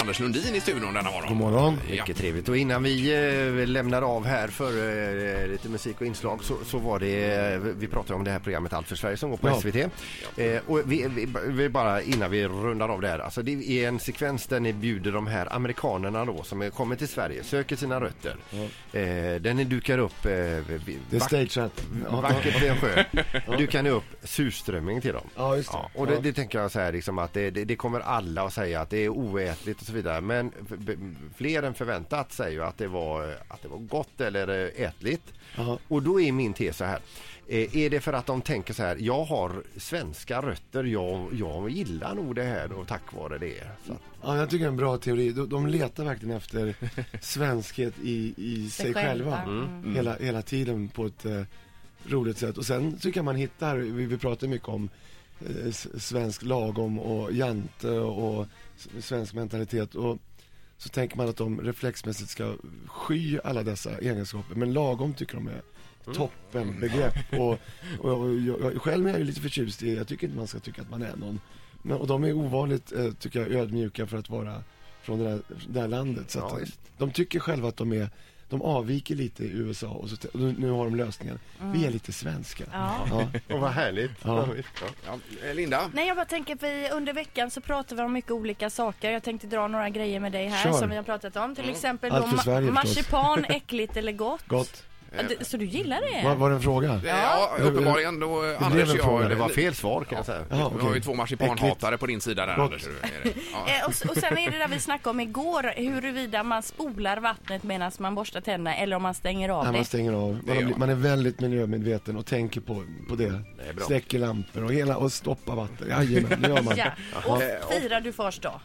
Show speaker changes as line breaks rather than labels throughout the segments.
Anders Lundin i studion denna morgon.
God morgon.
Ja.
Mycket trevligt. Och innan vi eh, lämnar av här för eh, lite musik och inslag så, så var det, eh, vi pratade om det här programmet Allt för Sverige som går på
Ja.
SVT. Eh, och vi, vi, vi bara innan vi rundar av det här, alltså det är en sekvens där ni bjuder de här amerikanerna då som är- kommer till Sverige, söker sina rötter. Eh, den ni dukar upp eh, vi-
Det är
vack-
stageat.
vackert vid en sjö. Dukar ni upp surströmming till dem.
Ja, just det.
Ja, och det,
Ja.
det tänker jag så här liksom att det, det, det kommer alla att säga att det är oätligt och så vidare. Men f- b- fler än förväntat säger ju att det var, att det var gott eller eh, ätligt.
Jaha.
Och då är min tes så här. Eh, Är det för att de tänker så här, jag har svenska rötter, jag, jag gillar nog det här och tack vare det. Så att,
Ja, jag tycker det är en bra teori. De, de letar verkligen efter svenskhet i, i sig själva. Hela, hela tiden på ett eh, roligt sätt. Och sen så kan man hitta, här, vi, vi pratar mycket om eh, s- svensk lagom och jante och s- svensk mentalitet. Och så tänker man att de reflexmässigt ska sky alla dessa egenskaper. Men lagom tycker de är toppenbegrepp. Och, och, och jag, jag, själv är jag ju lite förtjust i, jag tycker inte man ska tycka att man är någon. Men, och de är ovanligt, eh, tycker jag, ödmjuka för att vara från det där, det där landet. Så att,
Ja,
eh,
visst.
de tycker själva att de är de avviker lite i USA och, så, t- och nu har de lösningen. Vi är lite svenska.
Ja.
Ja.
och vad härligt.
Ja.
Ja.
Ja. eh, Linda?
Nej, jag bara tänker att vi under veckan så pratar vi om mycket olika saker. Jag tänkte dra några grejer med dig här
Kör. Mm.
som vi har pratat om. Till exempel
Allt för
då
Sverige
ma-
förstås.
marsipan, äckligt eller gott.
Gott.
Ja, det- Så du gillar det?
Var, var det en fråga?
Ja, ja uppenbarligen då Anders
en
och
fråga.
jag...
Det var fel svar kan jag säga.
Ja,
Vi har ju
okej.
två marsipanhatare på din sida där
Gott.
Anders. Är det? Ja.
Eh, och, s- och sen är det där vi snackade om igår, huruvida man spolar vattnet medan man borstar tänderna eller om man stänger av
Nej,
det.
man stänger av.
Det
Man,
gör man.
har, man är väldigt miljömedveten och tänker på, på det.
Det är bra.
Släcker lampor och, hela, och stoppar vatten. Jajamän, det Eh, gör man.
Ja. Eh, Och firar du fars dag?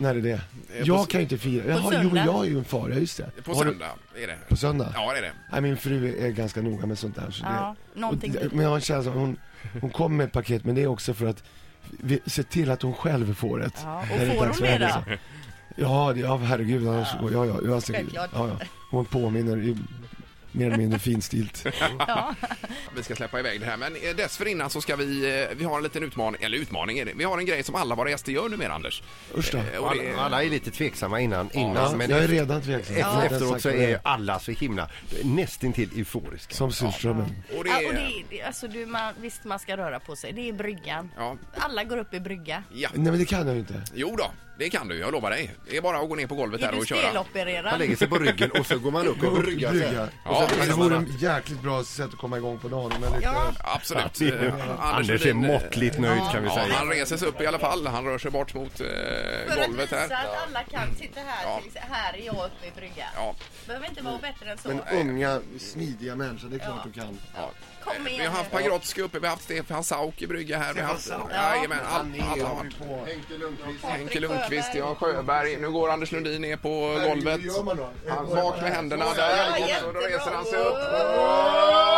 När är det? Jag kan ju inte fira. Jaha, jo,
söndag.
jag är ju en far, ja, just det.
På
Har du-
söndag är det.
På söndag?
Ja, det är det.
Nej, min fru är ganska noga med sånt där. Så
Ja,
det,
någonting
och,
dit.
men jag har en känsla, hon, hon kommer med ett paket, men det är också för att vi, se till att hon själv får ett.
Ja, och
När är
får
dags
hon
för
det
henne,
då?
så. Ja, det- ja herregud, annars, ja, ja, ja, alltså, ja,
Självklart.
ja. Hon påminner i, mer eller mindre finstilt.
Ja.
Vi ska släppa iväg det här men eh, dessförinnan så ska vi, eh, vi har en liten utmaning, eller utmaning är det. Vi har en grej som alla våra gäster gör numera Anders.
Usch då.
Eh, och det-
Alla, alla är lite tveksamma innan, innan
Ja,
men
jag är redan tveksam.
efter-
Jag har redan
efteråt
sagt
så
vad det
är alla så himla nästintill euforiska.
Som surströmmen.
Och det,
Ja, och det, det- alltså du, man, visst man ska röra på sig, det är bryggan.
Ja.
Alla går upp i brygga.
ja.
Nej men det kan jag ju inte.
Jo då, det kan du, jag lovar dig. Det är bara att gå ner på golvet
Är
här
du
och köra.
Man
stelopererad?
lägger sig på ryggen och så går man upp och ryggar sig.
Brygga.
Ja,
Och så-
men-
det vore en jäkligt bra sätt att komma igång på dagen med lite...
Ja.
Absolut.
Ja, det är-
Eh,
Anders är
Lundin, eh,
måttligt nöjd kan vi
Ja,
säga.
han reser sig upp i alla fall. Han rör sig bort mot eh,
För att
golvet
visa
här. Mm.
att alla kan sitta här,
Ja.
till exempel, här är jag uppe i bryggan.
Ja.
Behöver inte vara bättre än så.
Men unga, smidiga människor, det är klart
Ja.
de kan.
Ja.
Kom
Eh,
igen
Vi har haft
nu.
Pagrotsky uppe, vi har haft Stefan Sauk i brygga här. Vi har haft,
Sauk.
ja, jajamän, all, alla har varit.
på.
Henke Lundqvist, ja, Sjöberg. Nu går Anders Lundin ner på golvet.
Hur gör man då?
Han bak med händerna där.
Ja,
Och då reser han sig upp.